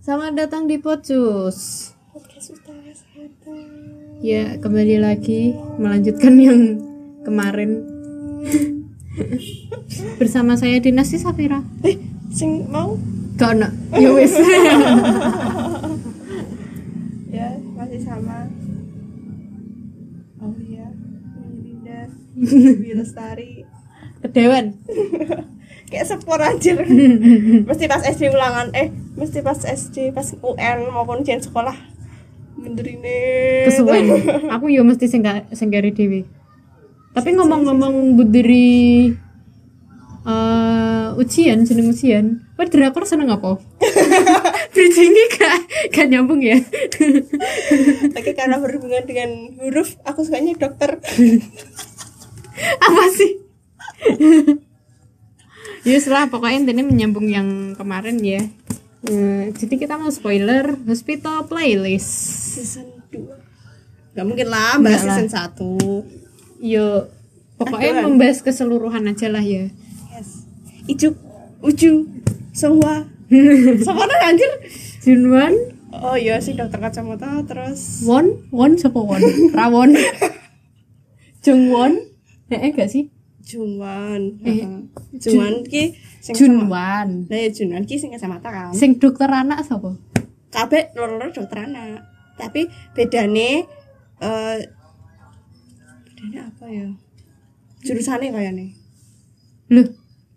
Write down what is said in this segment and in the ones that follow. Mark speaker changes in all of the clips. Speaker 1: Selamat datang di Pocus.
Speaker 2: podcast utara satu
Speaker 1: Ya, kembali lagi melanjutkan yang kemarin. Bersama saya Dinasti Safira.
Speaker 2: eh sing mau
Speaker 1: Kono, ya wis.
Speaker 2: ya masih sama oh iya Melinda Lestari
Speaker 1: Kedewan.
Speaker 2: kayak sepor anjir mesti pas SD ulangan eh mesti pas SD pas UN maupun ujian sekolah menderine
Speaker 1: Kesuwen. Aku yo mesti sing ga- sing gawe dhewe. Tapi ngomong-ngomong budiri eh ujian jeneng ujian. Wah, drakor seneng apa? Bridging-nya gak, gak nyambung ya.
Speaker 2: tapi karena berhubungan dengan huruf aku sukanya dokter
Speaker 1: apa sih Yus lah pokoknya intinya menyambung yang kemarin ya Eh, jadi kita mau spoiler hospital playlist
Speaker 2: season 2 Gak mungkin lah bahas
Speaker 1: Nggak lah.
Speaker 2: season 1
Speaker 1: yo pokoknya
Speaker 2: Aturan.
Speaker 1: membahas keseluruhan aja lah ya
Speaker 2: yes ijuk uju semua sama anjir
Speaker 1: Junwan
Speaker 2: Oh iya sih dokter kacamata terus
Speaker 1: Won Won siapa Won Rawon Jungwon eh, eh gak sih
Speaker 2: Junwan.
Speaker 1: Eh,
Speaker 2: Heeh. Junwan ki sing sama-
Speaker 1: Junwan
Speaker 2: Lah ya Junwan ki sing kacamata kan.
Speaker 1: sing dokter anak siapa
Speaker 2: Kabeh loro-loro dokter anak. Tapi bedane eh bedane apa ya? Jurusannya kayak nih.
Speaker 1: loh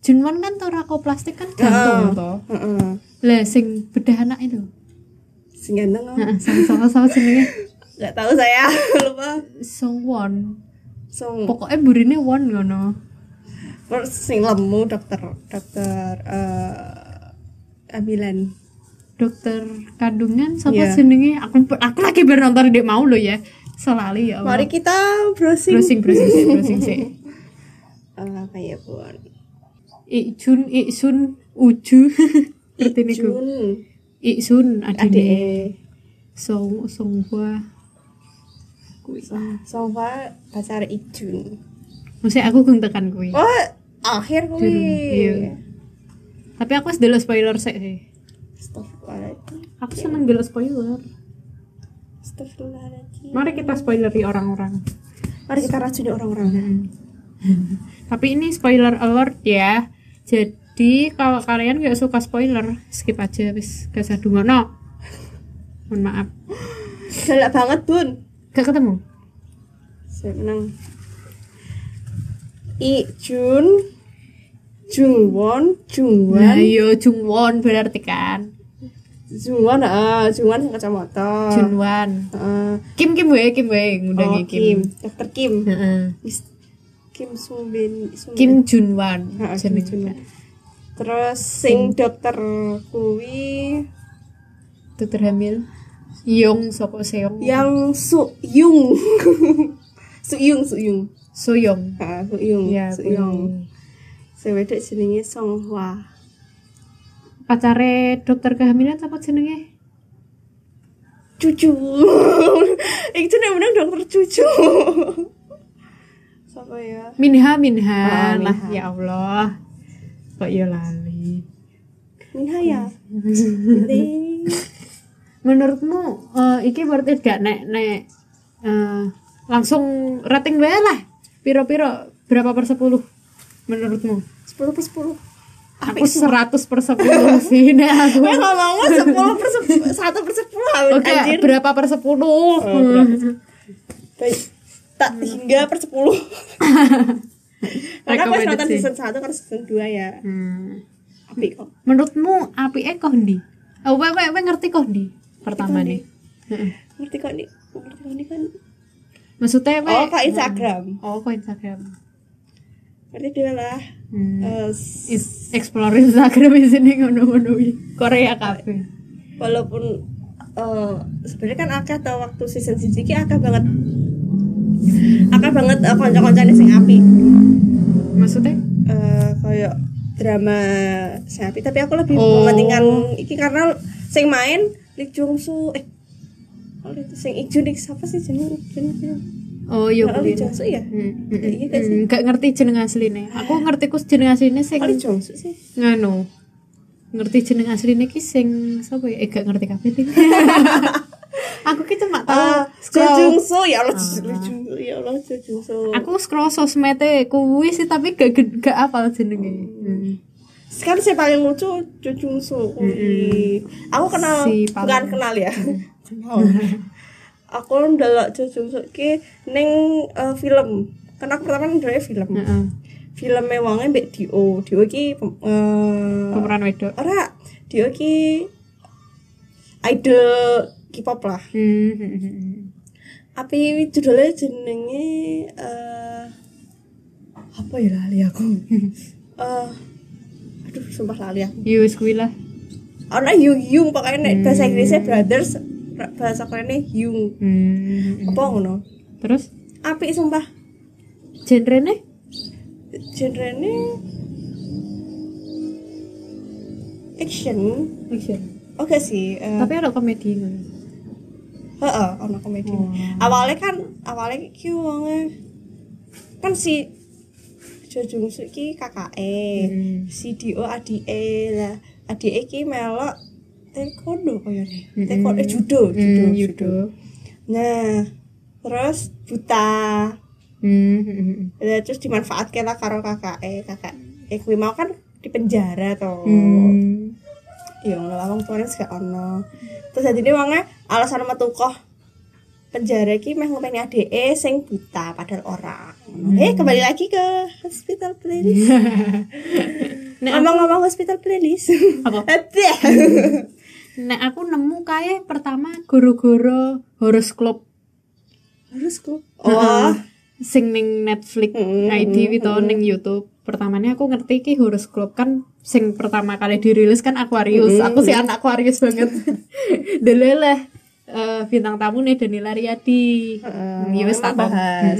Speaker 1: Junwan kan torako plastik kan gantung toh
Speaker 2: Heeh.
Speaker 1: lah sing bedah anak itu
Speaker 2: Sing ganteng apa?
Speaker 1: Heeh, sama-sama sama jenenge
Speaker 2: Enggak tahu saya lupa.
Speaker 1: Sungwon
Speaker 2: Song
Speaker 1: pokoknya burine won ngono
Speaker 2: terus sing lemu dokter dokter eh Amilan.
Speaker 1: dokter kandungan sama
Speaker 2: Iya.
Speaker 1: jenenge aku aku lagi bernonton dia mau lo ya selali ya Allah.
Speaker 2: Mari kita browsing.
Speaker 1: browsing browsing sih browsing sih
Speaker 2: Eh, apa ya, Bun?
Speaker 1: Ikjun Iksun Uju ngerti nih gue
Speaker 2: Jun. e.
Speaker 1: Iksun adine
Speaker 2: Ade.
Speaker 1: Song Songhwa
Speaker 2: Sofa pacar Ijun.
Speaker 1: maksudnya aku geng tekan kuwi
Speaker 2: Oh, akhir kuwi.
Speaker 1: Iya. tapi aku harus dulu spoiler sih sih
Speaker 2: Astagfirullahaladzim.
Speaker 1: aku seneng dulu spoiler
Speaker 2: Astagfirullahaladzim.
Speaker 1: mari kita spoileri orang-orang
Speaker 2: Mari kita racuni orang-orang.
Speaker 1: Tapi ini spoiler alert ya. Jadi kalau kalian nggak suka spoiler, skip aja wis gak usah dungono. Mohon maaf.
Speaker 2: Galak banget, Bun.
Speaker 1: Gak ketemu.
Speaker 2: Saya menang. Ijun Jungwon,
Speaker 1: Nah,
Speaker 2: Jungwon,
Speaker 1: yo Jungwon berarti kan.
Speaker 2: Jungwon, ah, Jungwon yang kacamata.
Speaker 1: Junwan.
Speaker 2: Heeh.
Speaker 1: Kim Kim wae, Kim wae
Speaker 2: oh,
Speaker 1: ngundangnya
Speaker 2: Kim,
Speaker 1: Kim.
Speaker 2: Dokter Kim.
Speaker 1: Heeh.
Speaker 2: Mis- Kim Sumin, Sumin.
Speaker 1: Kim Junwan.
Speaker 2: Heeh, Kim
Speaker 1: jeneng.
Speaker 2: Junwan. Terus sing dokter kuwi
Speaker 1: Dokter hamil. Yong sapa Seong?
Speaker 2: yang Su Yung. Su Yung, Su Yung.
Speaker 1: Soyong.
Speaker 2: Heeh, Su Yung,
Speaker 1: Ya,
Speaker 2: Su Yung. Sing wedok jenenge Song Hwa.
Speaker 1: Pacare dokter kehamilan apa jenenge?
Speaker 2: Cucu. Itu yang menang dokter cucu. Siapa ya?
Speaker 1: Minha Minha
Speaker 2: Ah,
Speaker 1: lah
Speaker 2: Minha.
Speaker 1: ya Allah. Kok ya lali.
Speaker 2: Minha ya. Penting.
Speaker 1: menurutmu eh, iki berarti gak nek nek eh, langsung rating wae lah piro piro berapa per 10 menurutmu
Speaker 2: 10 per 10.
Speaker 1: aku 100 per 10 sih nek aku
Speaker 2: Gue ngomongnya 10 per 10, 1 per 10
Speaker 1: oke
Speaker 2: anjir. Oh,
Speaker 1: berapa per 10
Speaker 2: Baik. Tak hingga per 10. Karena aku harus nonton
Speaker 1: Rekomendasi.
Speaker 2: season 1 karena season 2 ya.
Speaker 1: Hmm.
Speaker 2: Apik kok.
Speaker 1: menurutmu api eh kok ndi oh, we, we, we ngerti kok ndi pertama
Speaker 2: Ngerti
Speaker 1: nih Heeh.
Speaker 2: ngerti kok nih ngerti kok nih kan
Speaker 1: maksudnya we,
Speaker 2: oh kak Instagram
Speaker 1: oh kok Instagram
Speaker 2: ngerti dia lah
Speaker 1: hmm.
Speaker 2: Eh, s-
Speaker 1: Is- explore Instagram di sini ngono-ngono iki. Korea kafe
Speaker 2: walaupun eh sebenarnya kan akeh tau waktu season siji ki akeh banget akeh banget uh, kanca-kancane sing apik
Speaker 1: maksudnya
Speaker 2: Eh kayak drama sing apik tapi aku lebih
Speaker 1: Oh.
Speaker 2: mementingkan iki karena sing main Lee Jung Soo eh oh, Lee- sing Ijun iki siapa sih jenenge Ijun iki?
Speaker 1: oh yo
Speaker 2: Oh, Lee Jung Soo ya
Speaker 1: Hmm, hmm,
Speaker 2: Iya gak sih?
Speaker 1: hmm, gak ngerti jeneng asline. Aku ngerti kus jeneng asline sing
Speaker 2: Oh, Lee Jung Soo sih
Speaker 1: nganu. ngerti jeneng asline ki sing sapa ya? Eh gak ngerti kabeh. aku ki cuma tahu
Speaker 2: Ah, Jo Jung
Speaker 1: scroll.
Speaker 2: Soo ya Allah Jo Jung Soo ya Allah Jo Jung Soo.
Speaker 1: Ah. Aku scroll sosmede kuwi sih tapi gak gak, gak apal jenenge.
Speaker 2: Hmm.
Speaker 1: Heeh.
Speaker 2: Sekarang saya Kan paling lucu Jo Jung Soo. Wih. Aku kenal
Speaker 1: Si Paul.
Speaker 2: bukan kenal ya. Kenal. aku ndelok Jo Jung Soo ki ning eh, film. Karena aku pertama ndelok film.
Speaker 1: Heeh.
Speaker 2: Filmnya wonge mbek Dio. Dio ki pem- eh,
Speaker 1: Pemeran wedok.
Speaker 2: ora Dio ki idol K-pop lah.
Speaker 1: Hmm, hmm, hmm, hmm.
Speaker 2: Tapi judulnya jenenge eh apa ya lali aku? Eh aduh sumpah lali aku.
Speaker 1: Yo Iya, wis kuwi lah.
Speaker 2: Ana Yung Yung pokoknya nek bahasa Inggrisnya brothers ra- bahasa kerennya Yung.
Speaker 1: Hmm.
Speaker 2: Apa ngono?
Speaker 1: Terus
Speaker 2: Apik sumpah.
Speaker 1: genrene?
Speaker 2: Genrenya action.
Speaker 1: Action.
Speaker 2: Oke sih. eh,
Speaker 1: Tapi ada komedi ngono.
Speaker 2: Heeh, ana komedi.
Speaker 1: Oh.
Speaker 2: Awalnya kan awalnya ki wonge kan si Jo Jung Suk ki kakake,
Speaker 1: Hmm.
Speaker 2: si Dio adike lah. Adike ki melok taekwondo koyo
Speaker 1: Mm-mm.
Speaker 2: ne. Taekwondo eh, judo, judo,
Speaker 1: Hmm,
Speaker 2: judo.
Speaker 1: judo.
Speaker 2: Nah, terus buta.
Speaker 1: Hmm, hmm, hmm.
Speaker 2: Lah, terus dimanfaatkan lah karo kakake, kakak. Eh kuwi mau kan di penjara toh.
Speaker 1: Hmm.
Speaker 2: ya Allah wong tuane gak ono terus jadi ini wongnya alasan metu koh penjara ki meh ngopeni adeke sing buta padahal orang eh kembali lagi ke hospital playlist
Speaker 1: Nek
Speaker 2: ngomong-ngomong hospital playlist
Speaker 1: Apa?
Speaker 2: Adeh.
Speaker 1: Nek aku nemu kae pertama goro-goro horoskop
Speaker 2: harus kok
Speaker 1: Heeh.
Speaker 2: oh
Speaker 1: sing ning Netflix,
Speaker 2: Mm,
Speaker 1: IDW to ning YouTube. Pertamanya aku ngerti ki horoskop kan sing pertama kali dirilis kan Aquarius. Aku sih anak Aquarius banget. Deleleh eh, bintang tamu nih Danila Riyadi.
Speaker 2: Heeh,
Speaker 1: Ya wis tak
Speaker 2: membahas.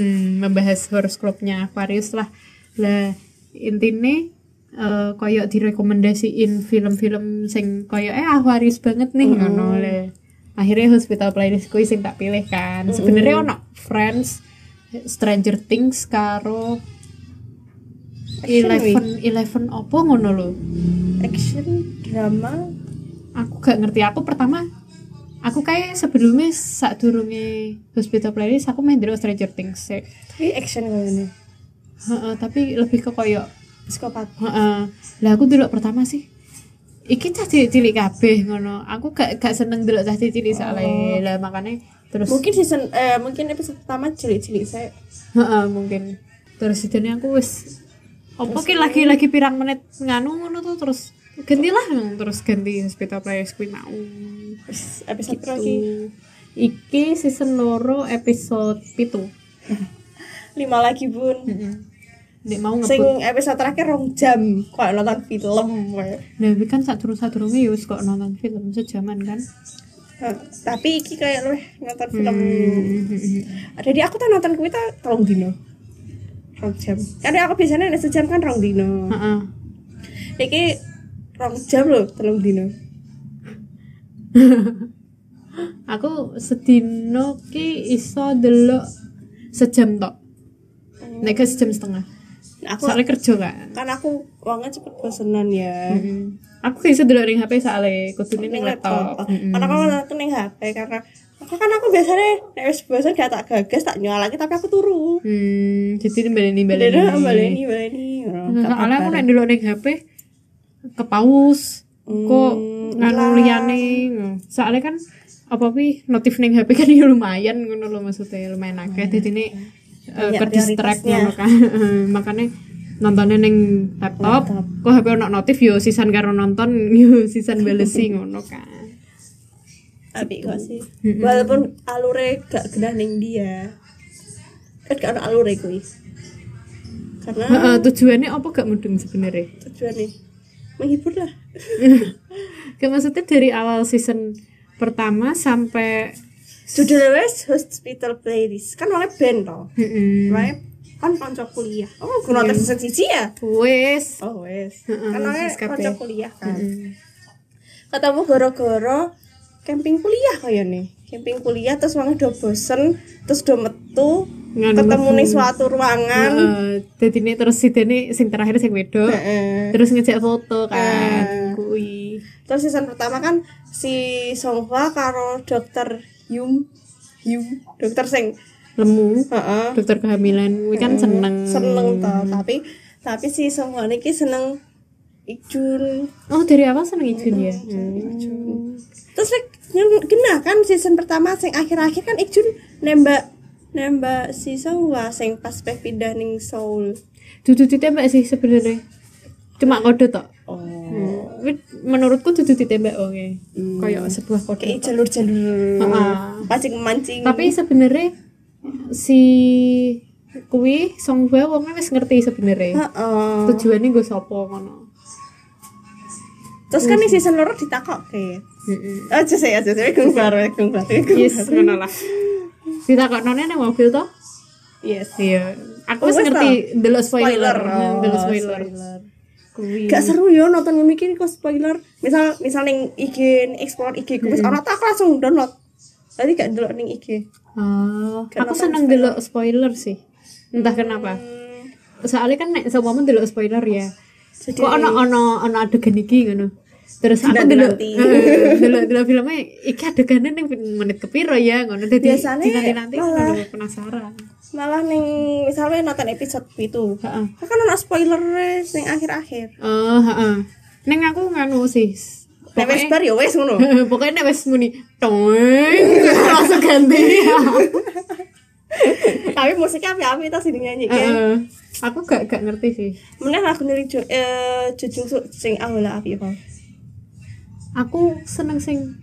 Speaker 1: membahas. Hmm, membahas horoskopnya Aquarius lah. Lah intine eh koyo direkomendasiin film-film sing koyo eh Aquarius banget nih ngono le. Akhirnya Hospital Playlist kuwi sing tak pilih kan. Sebenarnya ono Friends, Stranger Things karo
Speaker 2: Action
Speaker 1: Eleven Eleven opo ngono lho.
Speaker 2: action drama
Speaker 1: Aku gak ngerti aku pertama aku kayak sebelumnya sadurunge Hospital Playlist aku main dulu Stranger Things sih.
Speaker 2: ini action kayaknya
Speaker 1: Heeh, tapi lebih ke koyo
Speaker 2: psikopat
Speaker 1: heeh. Lah aku dulu pertama sih. Iki cah cilik-cilik kabeh ngono. Aku gak gak seneng delok cah cilik soalnya. Lah makanya terus
Speaker 2: mungkin season eh, mungkin episode pertama cilik-cilik saya
Speaker 1: heeh mungkin. Terus jadinya aku wis opo ki lagi-lagi pirang menit nganu ngono tuh terus gantilah terus ganti hospital players kuwi mau.
Speaker 2: Terus episode
Speaker 1: Gitu.
Speaker 2: lagi
Speaker 1: Iki season loro episode pitu.
Speaker 2: lima lagi bun
Speaker 1: Nek mau
Speaker 2: sing
Speaker 1: ngebut.
Speaker 2: episode terakhir rong jam kok nonton film weh.
Speaker 1: Lah iki kan sadurung-sadurunge ya wis kok nonton film sejaman kan.
Speaker 2: Eh, tapi iki kayak lu nonton film
Speaker 1: Hmm.
Speaker 2: jadi aku tuh nonton kuwi tuh rong dino rong jam karena aku biasanya nek sejam kan rong dino
Speaker 1: Heeh.
Speaker 2: iki rong jam loh telung dino
Speaker 1: aku sedino ki iso delok sejam tok nek gak sejam setengah
Speaker 2: Nah, Hmm. aku
Speaker 1: soalnya kerja kan
Speaker 2: kan aku uangnya cepet bosenan ya
Speaker 1: Hmm. aku gak iso delok ning HP soalnya kudune
Speaker 2: Ning
Speaker 1: ning laptop Hmm. Mm-mm.
Speaker 2: karena aku nonton ning HP karena aku kan aku biasanya nek wis bosen gak tak gagas tak nyala lagi tapi aku turu
Speaker 1: hmm jadi baleni baleni
Speaker 2: Baleni, baleni, baleni. Oh, gak
Speaker 1: Hmm, Nah, soalnya aku
Speaker 2: apa-apa.
Speaker 1: nek delok ning HP kepaus kok
Speaker 2: Hmm,
Speaker 1: nganu
Speaker 2: lah.
Speaker 1: liyane soalnya kan apa pi notif ning HP kan ya lumayan ngono lho maksudnya lumayan akeh jadi ini
Speaker 2: Hmm. Banyak
Speaker 1: ke distract
Speaker 2: prioritasnya.
Speaker 1: ngono kan makanya nontonnya neng laptop,
Speaker 2: Laptop.
Speaker 1: kok HP ono notif yo sisan karo nonton yo sisan balesi ngono kan
Speaker 2: apik kok sih walaupun alure gak genah ning dia kan gak ada alure kuwi karena
Speaker 1: Heeh, tujuannya apa gak mudeng sebenarnya
Speaker 2: tujuan nih menghibur lah
Speaker 1: Kayak maksudnya dari awal season pertama sampai
Speaker 2: judulnya wes hospital playlist kan oleh band toh
Speaker 1: Mm-mm.
Speaker 2: right kan kanca kuliah oh gue nonton season siji ya
Speaker 1: wes
Speaker 2: oh wes
Speaker 1: Mm. Heeh,
Speaker 2: kan oleh
Speaker 1: wes kabeh.
Speaker 2: kanca kuliah kan
Speaker 1: Mm.
Speaker 2: ketemu goro-goro camping kuliah kaya nih camping kuliah terus wangi do bosen terus do metu
Speaker 1: Nganu
Speaker 2: ketemu
Speaker 1: metu.
Speaker 2: nih suatu ruangan
Speaker 1: Heeh, jadi ini terus si Dene sing terakhir sing wedok
Speaker 2: Heeh.
Speaker 1: terus ngejak foto kan
Speaker 2: Heeh.
Speaker 1: kui
Speaker 2: terus season pertama kan si Songhwa karo dokter Yum Yum dokter sing
Speaker 1: lemu
Speaker 2: heeh
Speaker 1: dokter kehamilan kuwi kan seneng
Speaker 2: seneng toh tapi tapi si Songhwa niki seneng Ikjun
Speaker 1: oh dari awal seneng Ijun ya
Speaker 2: terus like, kena kan season pertama sing akhir-akhir kan Ikjun nembak nembak si Songhwa sing pas peh pindah ning Seoul
Speaker 1: dudu ditembak sih sebenarnya cuma kode tok
Speaker 2: oh
Speaker 1: Tapi menurutku dudu ditembak oke
Speaker 2: Hmm.
Speaker 1: kayak sebuah kode
Speaker 2: kayak jalur-jalur
Speaker 1: Ah.
Speaker 2: mancing mancing
Speaker 1: tapi sebenarnya si kuwi Song Hwa wongnya wis ngerti sebenarnya
Speaker 2: Heeh.
Speaker 1: tujuannya gue sopo ngono
Speaker 2: terus kan nih season loro ditakok ke
Speaker 1: Mm-mm.
Speaker 2: oh just ya just ya gung baru gung baru
Speaker 1: yes ngono lah ditakok nonnya nang mobil toh
Speaker 2: yes
Speaker 1: iya aku wis
Speaker 2: Oh, wis
Speaker 1: ngerti delok spoiler
Speaker 2: Oh,
Speaker 1: delok spoiler
Speaker 2: spoiler.
Speaker 1: kuwi
Speaker 2: gak seru ya nonton yang mikir kok spoiler misal misal ning IG explore IG ku wis ana tak langsung download tadi gak delok ning IG
Speaker 1: Oh, aku seneng delok spoiler sih. Entah kenapa. Soalnya kan nek seumpama delok spoiler ya.
Speaker 2: Jadi-
Speaker 1: Kok ono ono ono adegan iki ngono. Terus aku
Speaker 2: Nanti-
Speaker 1: delok
Speaker 2: nanti.
Speaker 1: eh, delok delok filmnya iki adegane ning menit kepiro ya ngono. Dadi
Speaker 2: Biasane
Speaker 1: nanti-nanti aku
Speaker 2: malah-
Speaker 1: udah penasaran.
Speaker 2: malah ning misalnya nonton episode itu
Speaker 1: Heeh.
Speaker 2: kan ana spoiler ning akhir-akhir
Speaker 1: Oh, heeh. Ning aku nganu sih.
Speaker 2: nek
Speaker 1: Pokoknya
Speaker 2: wis bar ya wis ngono
Speaker 1: pokoknya nek wis muni toeng langsung ganti.
Speaker 2: tapi musiknya api-api tas sini nyanyi kan
Speaker 1: Heeh. Aku gak gak ngerti sih.
Speaker 2: meneh lagu dari Jo- eh, Jujung Suk sing awalnya api apa
Speaker 1: aku seneng sing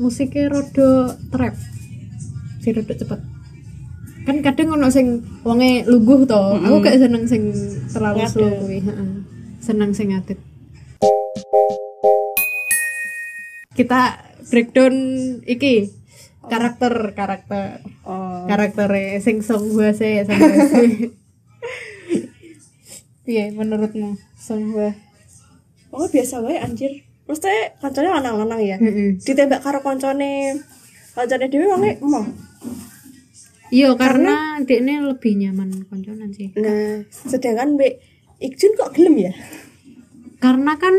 Speaker 1: musiknya rada trap sing rada cepet kan kadang ono sing wonge luguh to aku gak seneng sing terlalu
Speaker 2: Ngadeg.
Speaker 1: slow kuwi heeh. seneng sing ngadeg kita breakdown iki karakter karakter
Speaker 2: oh
Speaker 1: karaktere sing song gua sih song Hwa sih. piye menurutmu song gua
Speaker 2: oh biasa wae anjir maksudnya kancane lanang-lanang ya ditembak karo koncone koncone dhewe wonge emoh
Speaker 1: Iya karena, dekne lebih nyaman konconan sih.
Speaker 2: Nah, sedangkan Mbak Ikjun kok gelem ya?
Speaker 1: Karena kan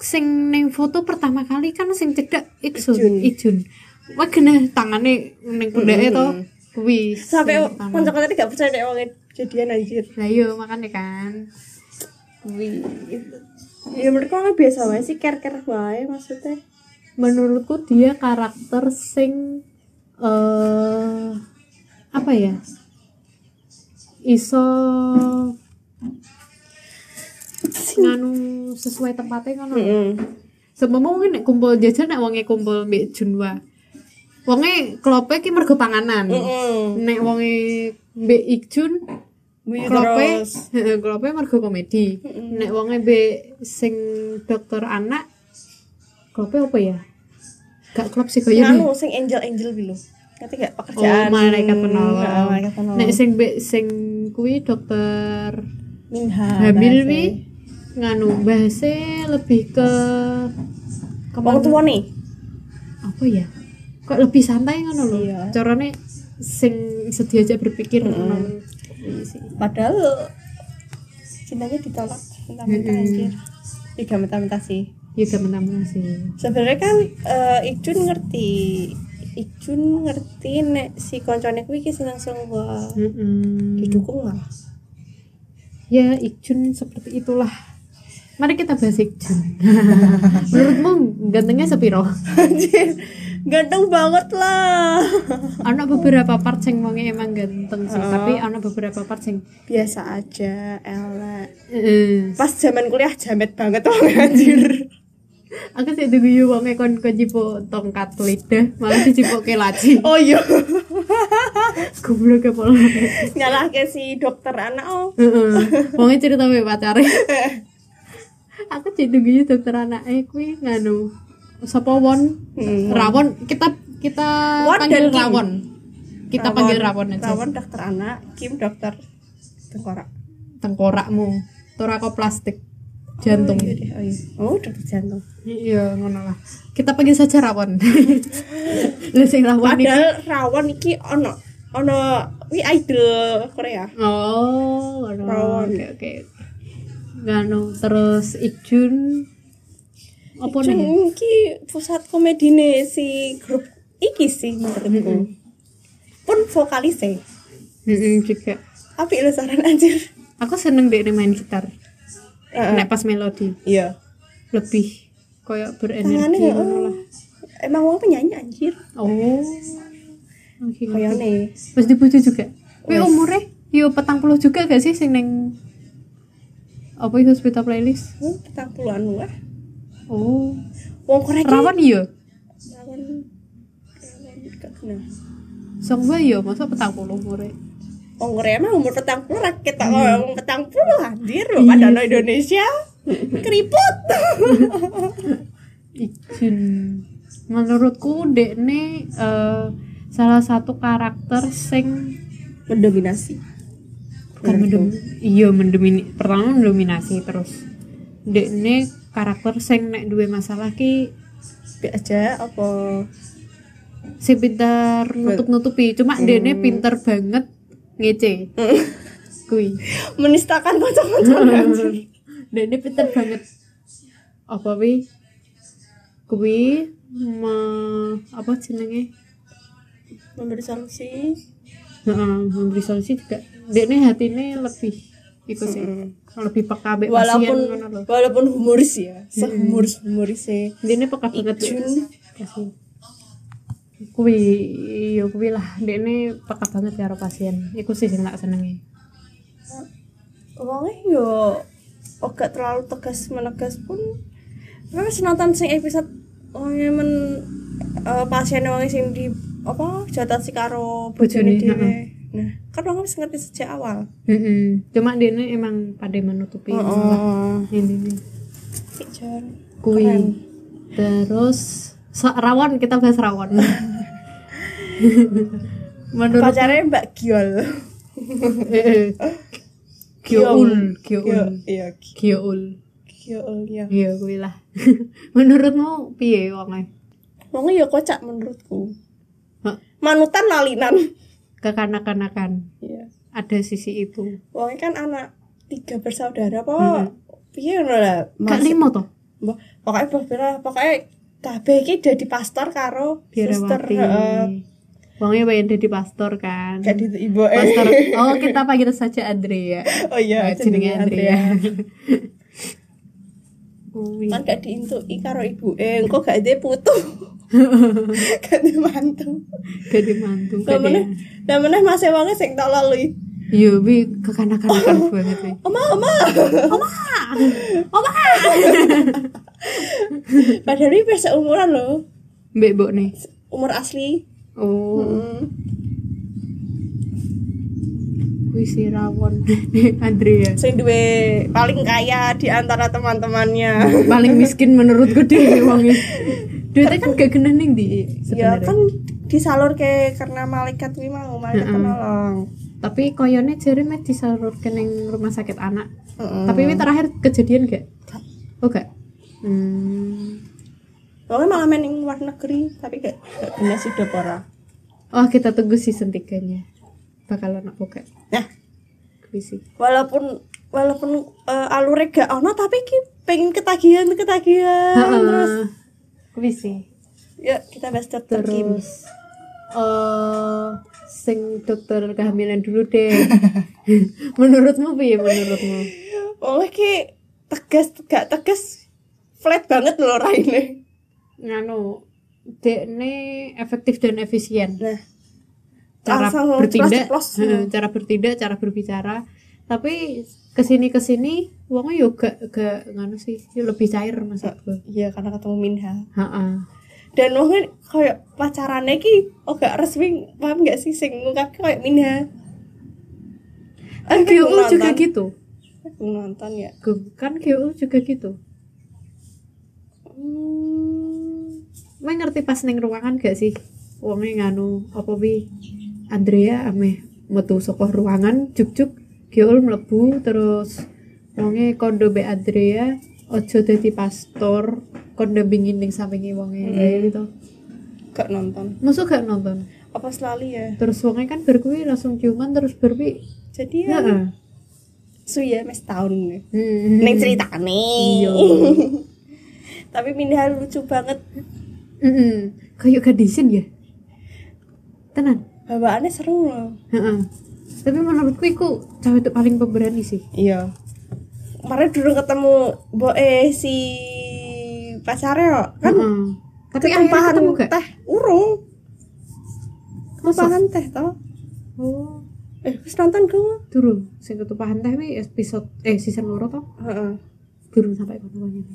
Speaker 1: sing ning foto pertama kali kan sing cedak
Speaker 2: Ijun.
Speaker 1: Iksun, Ijun. Wah gene tangane ning pundake to. Kuwi. sing
Speaker 2: Sampai
Speaker 1: pertama.
Speaker 2: konco tadi gak percaya nek wonge jadian anjir.
Speaker 1: Lah iya makane kan. Kuwi.
Speaker 2: Ya menurutku kan biasa wae sih care-care wae maksudnya.
Speaker 1: Menurutku dia karakter sing eh apa ya? Iso nganu sesuai tempatnya ngono.
Speaker 2: Heeh.
Speaker 1: Sempama mungkin nek kumpul jajan nek wonge kumpul mbek Junwa. Wonge klope ki mergo panganan.
Speaker 2: Heeh.
Speaker 1: Nek wonge mbek Ikjun klope
Speaker 2: Nah,
Speaker 1: heeh, klope mergo komedi. Nek wonge mbek sing dokter anak klope apa ya? Gak klop sih kayaknya.
Speaker 2: Anu sing angel-angel bi lho. Ngerti gak
Speaker 1: Oh,
Speaker 2: pekerjaan? Nah,
Speaker 1: malaikat
Speaker 2: Heeh,
Speaker 1: penolong.
Speaker 2: Malaikat penolong.
Speaker 1: Nek sing mbek sing kuwi dokter
Speaker 2: Minha.
Speaker 1: hamil
Speaker 2: Ah, bahasa.
Speaker 1: wi nganu bahasa lebih ke
Speaker 2: Wong
Speaker 1: kemana-
Speaker 2: tuwa nih.
Speaker 1: apa ya kok lebih santai ngono lho
Speaker 2: Iya.
Speaker 1: carane sing sedih aja berpikir ngono
Speaker 2: Padahal cintanya ditolak mentah-mentah anjir. Tiga mentah-mentah sih.
Speaker 1: ya gak menang sih
Speaker 2: sebenarnya kan eh, Ikjun ngerti Ikjun ngerti nek si koncone kuwi iki seneng sungguh
Speaker 1: Mm-mm.
Speaker 2: didukung malah
Speaker 1: ya Ikjun seperti itulah mari kita bahas Ikjun menurutmu gantengnya sepiro
Speaker 2: anjir ganteng banget lah
Speaker 1: ana beberapa part sing wonge emang ganteng
Speaker 2: Oh.
Speaker 1: sih tapi ana beberapa part sing
Speaker 2: biasa aja elek
Speaker 1: eh,
Speaker 2: pas zaman kuliah jamet banget tuh anjir
Speaker 1: aku sih diguyu wonge kon kejipuk tongkat lidah malah dijipuk ke laci
Speaker 2: oh iya ya,
Speaker 1: goblok kepala
Speaker 2: nyalah ke si dokter anak oh
Speaker 1: Heeh. Wonge cerita wae pacare. Aku jadi gini dokter anak eh kuwi nganu sapa Won?
Speaker 2: Hmm,
Speaker 1: Rawon kita kita
Speaker 2: Won
Speaker 1: panggil
Speaker 2: dan Kim.
Speaker 1: Rawon. Kita panggil Rawon aja.
Speaker 2: Rawon dokter anak Kim dokter tengkorak
Speaker 1: Tengkorakmu, torakoplastik jantung.
Speaker 2: oh, iya, oh, iya. oh dokter jantung
Speaker 1: Iya, ngono lah. Kita panggil saja Rawon. Lah sing Rawon iki-
Speaker 2: padahal rawon iki ono ono wi idol Korea
Speaker 1: Oh, ngono.
Speaker 2: Rawon.
Speaker 1: Oke, oke. Nganu terus Ikjun apa
Speaker 2: Jung
Speaker 1: nih?
Speaker 2: iki pusat komedine si grup iki sih menurutku. Pun vokalise.
Speaker 1: Heeh, juga.
Speaker 2: Apik lho saran anjir.
Speaker 1: Aku seneng deh main gitar.
Speaker 2: Eh. Heeh.
Speaker 1: Nek pas melodi
Speaker 2: Iya.
Speaker 1: lebih koyo
Speaker 2: Tangane
Speaker 1: berenergi ngono lah.
Speaker 2: eh, Emang wong penyanyi anjir.
Speaker 1: Oh. Oke.
Speaker 2: Koyone.
Speaker 1: Wis dipuji juga. Kuwi
Speaker 2: Wis.
Speaker 1: umure yo ya petang puluh juga gak sih sing neng apa itu sepeda playlist?
Speaker 2: Hmm, petang puluhan wah.
Speaker 1: Oh,
Speaker 2: Wong korek iki-
Speaker 1: rawan iya. yo.
Speaker 2: Rawan. Nah, Rawan gak kenal.
Speaker 1: Songba yo, iya, masa petang puluh umure.
Speaker 2: Wong korek emang umur petang puluh rakyat tak orang petang puluh anjir lho pada no Indonesia. Keriput.
Speaker 1: Ijin. Menurutku dekne eh, salah satu karakter sing
Speaker 2: Mendominasi.
Speaker 1: bukan mendom- iya mendomini pertama mendominasi terus dekne karakter sing nek duwe masalah ki
Speaker 2: Bi aja apa
Speaker 1: sing pinter nutup-nutupi cuma dekne pinter banget ngece kui
Speaker 2: menistakan kocok-kocok anjir.
Speaker 1: dekne pinter banget apa wi kui me- apa jenenge
Speaker 2: Memberi sanksi.
Speaker 1: Heeh, memberi solusi juga dekne hatine lebih iku sih lebih peka mbek pasien
Speaker 2: Hmm. walaupun
Speaker 1: ngono lho
Speaker 2: walaupun humoris
Speaker 1: Hmm.
Speaker 2: ya sehumoris humorisnya
Speaker 1: Dene peka banget Dek.
Speaker 2: Ijun.
Speaker 1: Kasih. Kuwi yo kuwi iya, lah dene peka banget karo pasien. Iku sih sing tak senengi.
Speaker 2: wongnya yo agak terlalu tegas menegas pun tapi senatan sing episode wongnya men eh, pasien wongnya sing di apa jatah si karo
Speaker 1: Bojone,
Speaker 2: bojone dhewe
Speaker 1: heeh.
Speaker 2: nah kan wongnya wis ngerti sejak awal
Speaker 1: Heeh. Cuma dene emang pada menutupi masalah ini nih.
Speaker 2: si John
Speaker 1: Kuwi.
Speaker 2: Keren.
Speaker 1: Terus sa- rawon kita bahas rawon. Menurut
Speaker 2: pacarnya Mbak Giol
Speaker 1: eh, eh. Kyoul, Kyoul,
Speaker 2: iya
Speaker 1: Kyoul.
Speaker 2: Giol ya
Speaker 1: Iya, kuwi lah. Menurutmu piye wonge?
Speaker 2: wongnya yo kocak menurutku
Speaker 1: Hah?
Speaker 2: manutan lalinan
Speaker 1: Kekanak-kanakan.
Speaker 2: iya
Speaker 1: ada sisi itu
Speaker 2: wongnya kan anak tiga bersaudara apa
Speaker 1: Mm-mm.
Speaker 2: piye ngono lah
Speaker 1: kak
Speaker 2: Mas-
Speaker 1: limo toh
Speaker 2: Mbah, pokoknya Mbah Bella, pokoknya kabeh iki dadi pastor karo suster
Speaker 1: biarawati
Speaker 2: heeh.
Speaker 1: Wongnya pengen jadi pastor kan
Speaker 2: Gak di ibu eh.
Speaker 1: pastor oh kita panggil saja Andrea
Speaker 2: Oh iya,
Speaker 1: Eh, jenenge
Speaker 2: jenenge
Speaker 1: Andrea
Speaker 2: Andrea.
Speaker 1: Kuwi.
Speaker 2: Kan gak diintuki karo ibu eh, engko gak ada putu. gak ada mantu.
Speaker 1: jadi mantu gede.
Speaker 2: Lah meneh, lah meneh mas ewange sing tak lalui.
Speaker 1: iya bi kekanak-kanakan banget wi
Speaker 2: Oma, oma.
Speaker 1: oma
Speaker 2: Padahal iki wis seumuran lho.
Speaker 1: mbak mbok nih
Speaker 2: Umur asli.
Speaker 1: oh
Speaker 2: Hmm.
Speaker 1: kuwi si rawon Andrea
Speaker 2: Sing duwe paling kaya di antara teman-temannya.
Speaker 1: paling miskin menurutku deh wongnya dia kan gak kena ning di
Speaker 2: Ya
Speaker 1: sebenarnya
Speaker 2: kan disalurke karena malaikat kuwi mau malaikat
Speaker 1: Mm-mm.
Speaker 2: penolong.
Speaker 1: tapi koyone jari meh disalurkan ning rumah sakit anak
Speaker 2: Heeh.
Speaker 1: Tapi ini terakhir kejadian gak?
Speaker 2: Gak.
Speaker 1: Oh gak? Hmm.
Speaker 2: Pokoknya malah main yang luar negeri, tapi gak, gak bener sih Dopora.
Speaker 1: Oh kita tunggu season 3 nya Bakal anak boga
Speaker 2: Nah,
Speaker 1: Kuwi sih.
Speaker 2: walaupun walaupun eh, alurnya gak ono, tapi ki pengen ketagihan ketagihan. Terus
Speaker 1: Heeh. Kuwi sih
Speaker 2: ya kita bahas dokter Kim.
Speaker 1: Terus eh Sing dokter kehamilan dulu deh Menurutmu piye menurutmu?
Speaker 2: Pokoknya ki tegas gak tegas flat banget loh Raine.
Speaker 1: Nganu Dekne efektif dan efisien
Speaker 2: Nah,
Speaker 1: cara
Speaker 2: Langsung
Speaker 1: bertindak
Speaker 2: plus-plus.
Speaker 1: heeh, cara bertindak cara berbicara tapi kesini kesini uangnya yo gak gak nganu sih ya lebih cair maksud gue
Speaker 2: iya karena ketemu Minha.
Speaker 1: Heeh.
Speaker 2: Dan wongnya kayak pacarannya ki oh gak resmi, paham gak sih sing ngungkap kayak Minha.
Speaker 1: kan
Speaker 2: Aku
Speaker 1: GU
Speaker 2: nonton.
Speaker 1: juga gitu
Speaker 2: Aku nonton ya.
Speaker 1: Gu- kan GU juga gitu
Speaker 2: Hmm.
Speaker 1: Gue ngerti pas neng ruangan gak sih uangnya nganu apa wi Andrea ameh metu sokoh ruangan juk juk Giul melebu terus wonge kondo be Andrea ojo dadi pastor kondo bingin ning sampingi wonge kayak gitu
Speaker 2: Gak nonton.
Speaker 1: musuh gak nonton
Speaker 2: Apa selalu ya?
Speaker 1: terus wongnya kan berkuwi langsung ciuman terus berwi
Speaker 2: Jadi ya,
Speaker 1: Heeh.
Speaker 2: suya mes tahun
Speaker 1: Hmm.
Speaker 2: neng ceritane
Speaker 1: Iya.
Speaker 2: tapi pindah lucu banget
Speaker 1: Heeh. Kayak gadisen ya. Tenan.
Speaker 2: bawaannya seru loh
Speaker 1: Heeh. Tapi menurutku iku cewek itu paling pemberani sih.
Speaker 2: iya kemarin dulu ketemu boe si pacarnya kok. kan
Speaker 1: Heeh. Tapi akhirnya
Speaker 2: ketumpahan
Speaker 1: ketemu gak?
Speaker 2: teh urung
Speaker 1: Masa?
Speaker 2: ketumpahan teh toh
Speaker 1: Oh,
Speaker 2: eh wis nonton gue
Speaker 1: turun. Sing ketumpahan teh wi episode eh season loro toh.
Speaker 2: Heeh.
Speaker 1: Durung sampai kono kono.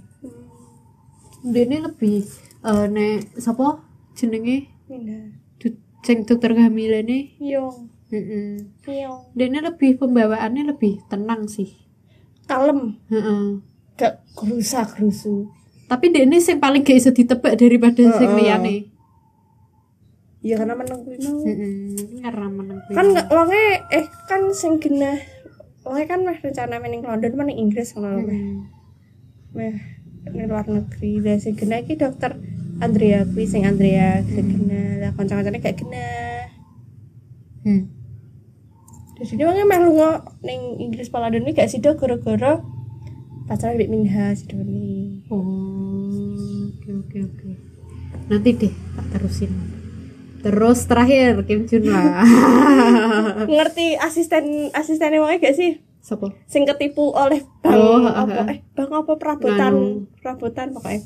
Speaker 1: Dene lebih eh nek sapa jenenge
Speaker 2: pindah
Speaker 1: Du- sing dokter kehamilane.
Speaker 2: yong
Speaker 1: Heeh.
Speaker 2: yong
Speaker 1: Dene lebih pembawaannya lebih tenang sih.
Speaker 2: kalem
Speaker 1: Heeh.
Speaker 2: gak gerusa gerusu
Speaker 1: Tapi dene sing paling gak iso ditebak daripada sing
Speaker 2: Heeh.
Speaker 1: liyane.
Speaker 2: iya karena menunggu mau
Speaker 1: Iya. Heeh. Ngeram meneng kuwi.
Speaker 2: kan nggak wonge eh kan sing genah wonge kan meh rencana mening London mening Inggris ngono lho meh
Speaker 1: Heeh.
Speaker 2: meh ning luar negeri lah sing genah iki dokter Andrea kuwi sing Andrea gak genah lah kanca-kancane gak genah
Speaker 1: Hmm.
Speaker 2: terus ini wonge meh lunga ning Inggris pa London iki gak sida gara-gara pacaran mbek Minha si Doni
Speaker 1: Oh, oke oke oke. Nanti deh tak terusin. Terus terakhir Kim Jun lah.
Speaker 2: ngerti asisten asistennya wonge gak sih
Speaker 1: Sopo?
Speaker 2: sing ketipu oleh bang
Speaker 1: Oh,
Speaker 2: apa
Speaker 1: ah, ah.
Speaker 2: eh bang apa perabotan
Speaker 1: Nganu.
Speaker 2: perabotan pokoknya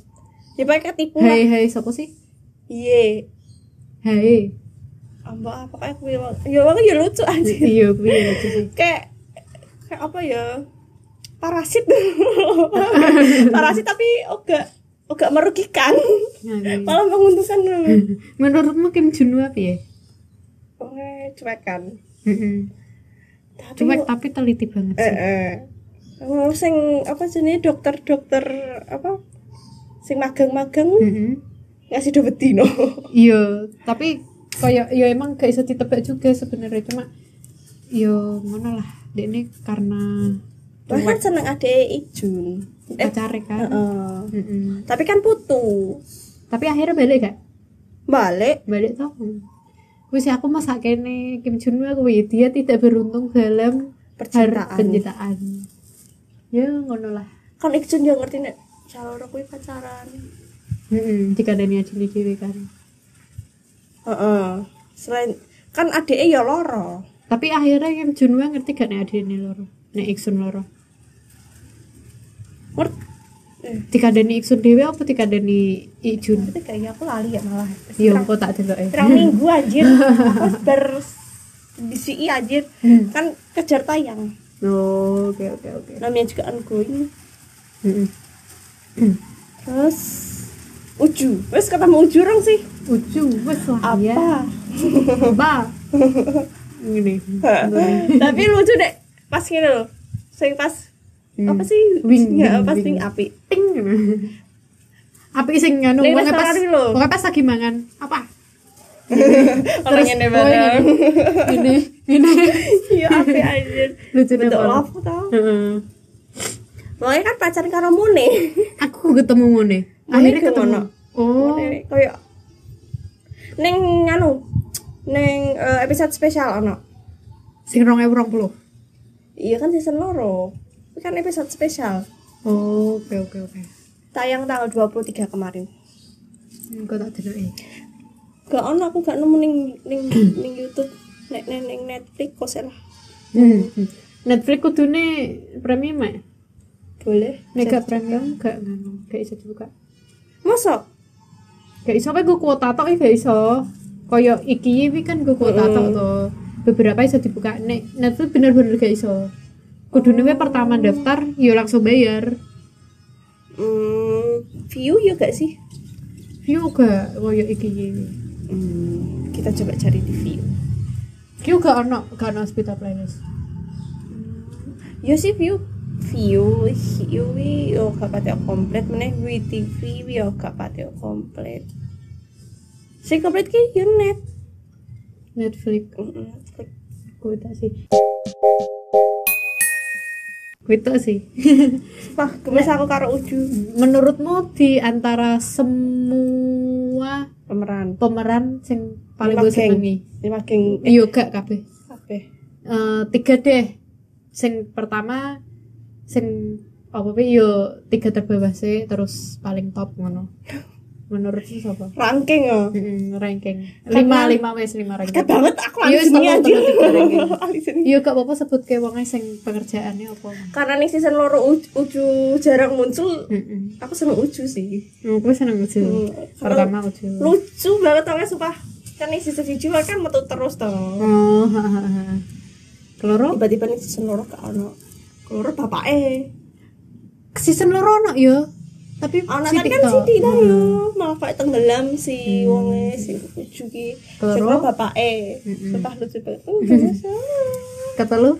Speaker 2: ya pakai ketipu lah
Speaker 1: Hai hai sopo sih?
Speaker 2: iya
Speaker 1: Hai.
Speaker 2: apa apa kayak ah, kuwi wong- ya wong ya lucu aja
Speaker 1: Iya kuwi ya lucu sih.
Speaker 2: kayak kayak apa ya parasit parasit tapi oga oga merugikan
Speaker 1: Nah, iya.
Speaker 2: malah menguntungkan
Speaker 1: Menurutmu Kim Jun apa ya?
Speaker 2: Oke, cuek kan
Speaker 1: Mm-mm.
Speaker 2: tapi
Speaker 1: Cuek tapi teliti banget
Speaker 2: eh
Speaker 1: sih.
Speaker 2: eh Wong sing apa jenis dokter dokter apa sing magang-magang
Speaker 1: Mm-mm.
Speaker 2: ngasih do bedino
Speaker 1: Iya, tapi kayak ya emang gak bisa ditebak juga sebenarnya cuma yo ngono lah. Dek ini karena
Speaker 2: bahkan seneng ade Ijun eh
Speaker 1: pacare kan.
Speaker 2: heeh.
Speaker 1: Mm-mm.
Speaker 2: tapi kan putu
Speaker 1: Tapi akhirnya balik gak?
Speaker 2: balik
Speaker 1: balik tau wis aku masak kene Kim Jun Woo kuwi dia tidak beruntung dalam har-
Speaker 2: percintaan
Speaker 1: penyitaan ya ngono lah
Speaker 2: kan Ikjun yang ngerti nek calon kuwi pacaran
Speaker 1: Heeh, jika ada niat ini dhewe kan
Speaker 2: Heeh. selain kan adiknya ya loro
Speaker 1: tapi akhirnya Kim Jun Woo ngerti gak nek adine loro nek Iksun loro
Speaker 2: ngerti eh
Speaker 1: jika ada Iksun dhewe apa jika ada Ijun
Speaker 2: tapi kayaknya aku lali ya malah
Speaker 1: iya engko tak delok e
Speaker 2: terang minggu anjir aku ber di CI anjir kan kejar tayang
Speaker 1: Oh, oke oke oke
Speaker 2: namanya juga ongoing
Speaker 1: Heeh.
Speaker 2: terus Uju, wes ketemu Uju rong sih
Speaker 1: Ucu, wes lah ya.
Speaker 2: apa
Speaker 1: Ba. Ngene.
Speaker 2: tapi lucu deh pas gini loh sing pas apa sih
Speaker 1: Wing, wing,
Speaker 2: ya, pas
Speaker 1: wing.
Speaker 2: Hmm. wing api
Speaker 1: ting apa sing nganu
Speaker 2: Ning
Speaker 1: wong
Speaker 2: restoran
Speaker 1: pas
Speaker 2: iki lho.
Speaker 1: wong pas lagi mangan apa
Speaker 2: orang ini bareng
Speaker 1: oh, ini ini
Speaker 2: iya api anjir
Speaker 1: lucu
Speaker 2: bentuk
Speaker 1: banget
Speaker 2: love tau
Speaker 1: Heeh.
Speaker 2: Pokoknya kan pacaran karo Mune.
Speaker 1: aku ketemu ngene akhirnya
Speaker 2: ke
Speaker 1: ketemu
Speaker 2: ngono.
Speaker 1: oh
Speaker 2: Mune koyo ning anu ning eh, episode spesial ono.
Speaker 1: sing 2020
Speaker 2: Iya kan season loro. Ini kan episode spesial.
Speaker 1: oh oke oke oke
Speaker 2: Tayang tanggal 23 kemarin.
Speaker 1: Engko tak deloki.
Speaker 2: Gak ono aku gak nemu ning ning ning YouTube nek ning, ning Netflix kok sih lah.
Speaker 1: Hmm. Netflix kudune premium ya?
Speaker 2: Boleh.
Speaker 1: Nek gak premium gak nganu, gak iso dibuka.
Speaker 2: Mosok?
Speaker 1: Gak iso apa gue kuota tok ya gak iso. Koyo iki iki kan gue kuota tok to. Beberapa iso dibuka nek Netflix bener-bener gak iso. Kudune we pertama daftar yo langsung bayar.
Speaker 2: Hmm, view ya gak sih?
Speaker 1: View gak koyo iki iki.
Speaker 2: Hmm, kita coba cari di view.
Speaker 1: View gak ono gak ono hospital playlist.
Speaker 2: Ya sih view view view wi yo gak pati komplit meneh wi TV wi yo gak pati komplit. Sing komplit ki yo mm, net.
Speaker 1: Netflix
Speaker 2: Mm-mm.
Speaker 1: kuota sih. Kuota sih.
Speaker 2: Wah, gemes aku karo Uju
Speaker 1: Menurutmu di antara semua
Speaker 2: pemeran.
Speaker 1: pemeran sing paling
Speaker 2: Lima
Speaker 1: gue
Speaker 2: geng.
Speaker 1: senengi?
Speaker 2: Lima geng eh
Speaker 1: Yo gak kabeh.
Speaker 2: kabeh.
Speaker 1: Eh, tiga deh sing pertama sing apa sih yo tiga terbawah sih terus paling top ngono menurutmu siapa
Speaker 2: ranking oh
Speaker 1: Mm-mm, ranking lima lima wes lima
Speaker 2: Dekat
Speaker 1: ranking
Speaker 2: banget aku
Speaker 1: Iya,
Speaker 2: alisin
Speaker 1: setelah
Speaker 2: aja
Speaker 1: tiga ranking.
Speaker 2: alisin
Speaker 1: Iya gak apa-apa sebut ke wongnya sing pekerjaannya apa
Speaker 2: karena nih season loro uju, uju jarang muncul
Speaker 1: Mm-mm.
Speaker 2: aku seneng uju sih
Speaker 1: aku seneng ucil
Speaker 2: Hmm.
Speaker 1: pertama ucil
Speaker 2: lucu banget orangnya sumpah kan nih season tujuh kan metu terus tuh
Speaker 1: oh ha, ha, ha. keloro
Speaker 2: tiba-tiba nih season loro ke ono keloro bapak eh
Speaker 1: season loro no yo tapi
Speaker 2: ono kan kan
Speaker 1: toh.
Speaker 2: Siti lah yo malah kayak tenggelam si wonge si uju ki
Speaker 1: Keloro?
Speaker 2: Segera bapak eh
Speaker 1: Mm-mm.
Speaker 2: sumpah lucu banget oh, gak salah.
Speaker 1: kata lu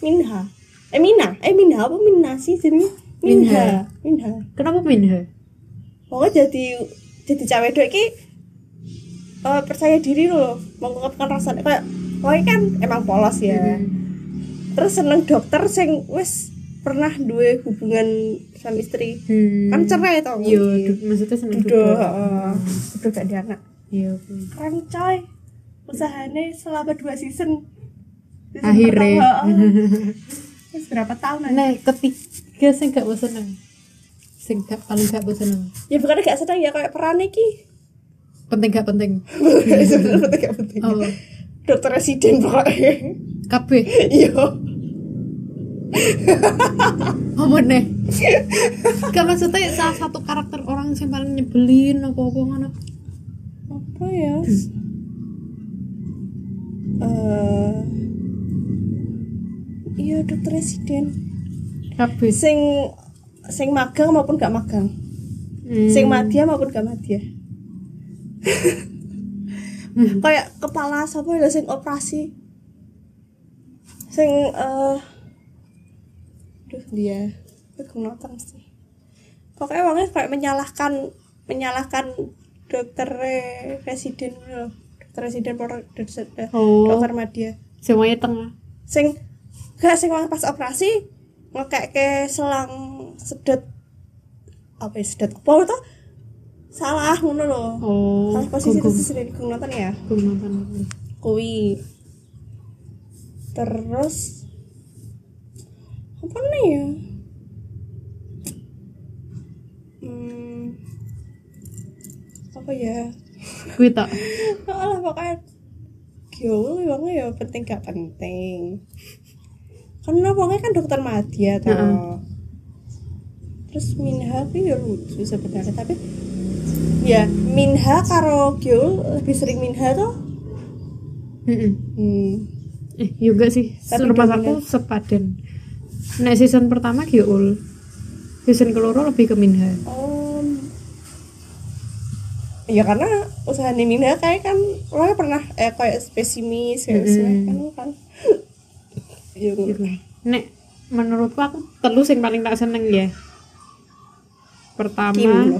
Speaker 2: Minha eh Mina eh Mina apa Mina sih jenis Minha Minha
Speaker 1: kenapa minha
Speaker 2: pokoknya jadi jadi cewek dok ki eh, percaya diri loh mengungkapkan rasa kayak pokoknya kan emang polos ya terus seneng dokter sing wis pernah dua hubungan suami istri
Speaker 1: Hmm.
Speaker 2: kan cerai tau
Speaker 1: Iya, du- maksudnya seneng
Speaker 2: udah
Speaker 1: duduk.
Speaker 2: udah gak ada anak
Speaker 1: Iya. oke.
Speaker 2: keren coy usahanya selama dua season Season
Speaker 1: Akhirnya.
Speaker 2: pertama, heeh. Wis berapa tahun
Speaker 1: Nah, ketiga sing gak bosen seneng. Sing gak paling gak bosen seneng.
Speaker 2: ya bukan gak seneng ya kayak peran iki
Speaker 1: Penting gak penting.
Speaker 2: sebenarnya penting gak penting
Speaker 1: Oh,
Speaker 2: dokter residen pokoknya
Speaker 1: kabeh.
Speaker 2: iya
Speaker 1: Apa nih? Gak maksudnya salah satu karakter orang yang paling nyebelin apa-apa ngono.
Speaker 2: apa ya Eh, iya dokter residen
Speaker 1: Kabeh.
Speaker 2: sing sing magang maupun gak magang
Speaker 1: Hmm.
Speaker 2: sing madya maupun gak ya? madya
Speaker 1: Hmm.
Speaker 2: kayak kepala siapa ya sing operasi sing eh duh dia
Speaker 1: Iya.
Speaker 2: aku nonton sih pokoknya orangnya kayak menyalahkan menyalahkan dokter residen gitu loh dokter residen por- dokter,
Speaker 1: Oh.
Speaker 2: dokter madya
Speaker 1: Semuanya tengah.
Speaker 2: sing gak sing wong pas operasi ngekek ke selang sedot apa ya sedot apa itu salah ngono loh
Speaker 1: Oh.
Speaker 2: salah posisi
Speaker 1: gugum.
Speaker 2: itu sering gue nonton ya
Speaker 1: Gugum nonton.
Speaker 2: kui terus apa nih ya hmm, apa ya
Speaker 1: Kuwi tak.
Speaker 2: Alah pokoknya Gila emangnya ya penting gak penting Karena pokoknya kan dokter Madya toh.
Speaker 1: Heeh.
Speaker 2: Terus Minha itu ya lucu sebenarnya Tapi ya Minha karo Gil lebih sering Minha tuh
Speaker 1: Heeh.
Speaker 2: hmm.
Speaker 1: Eh, yo gak sih.
Speaker 2: Tapi ya.
Speaker 1: Rumah
Speaker 2: dominan.
Speaker 1: aku sepadan. Nek season pertama Giul. Season keloro lebih ke Minha.
Speaker 2: Om. Ya karena usaha Minha kayak kan Orangnya pernah eh, kayak pesimis kayak mm kan Ya,
Speaker 1: Gitu. Nek menurutku aku telu sing paling tak seneng ya. Pertama
Speaker 2: Kim.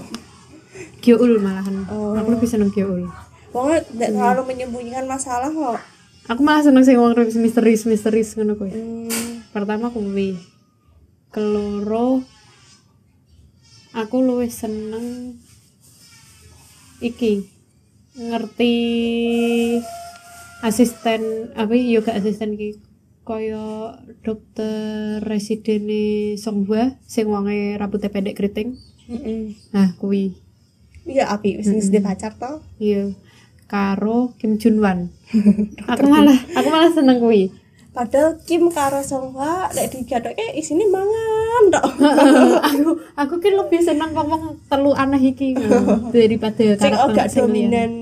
Speaker 1: Gyeul malahan.
Speaker 2: Oh.
Speaker 1: Aku lebih seneng Gyeul.
Speaker 2: Pokoknya tidak
Speaker 1: Hmm.
Speaker 2: terlalu menyembunyikan masalah kok
Speaker 1: Aku malah seneng sing wong misterius misterius ngono kuwi.
Speaker 2: Hmm,
Speaker 1: Pertama kuwi. Keloro aku luwih seneng iki ngerti asisten apa yoga asisten ki kaya dokter residene Songhwa sing wonge rambutnya pendek keriting Nah, kuwi.
Speaker 2: Hmm. Iya api
Speaker 1: Hmm.
Speaker 2: wis mm pacar toh.
Speaker 1: Iya. Karo Kim Junwan. aku malah aku malah seneng kuwi.
Speaker 2: Padahal Kim karo Songhwa nek digadoke isine mangan tok.
Speaker 1: aku aku kan lebih seneng ngomong telu aneh iki ngono, daripada
Speaker 2: Sing
Speaker 1: karakter
Speaker 2: gak
Speaker 1: sing liyan.
Speaker 2: dominan.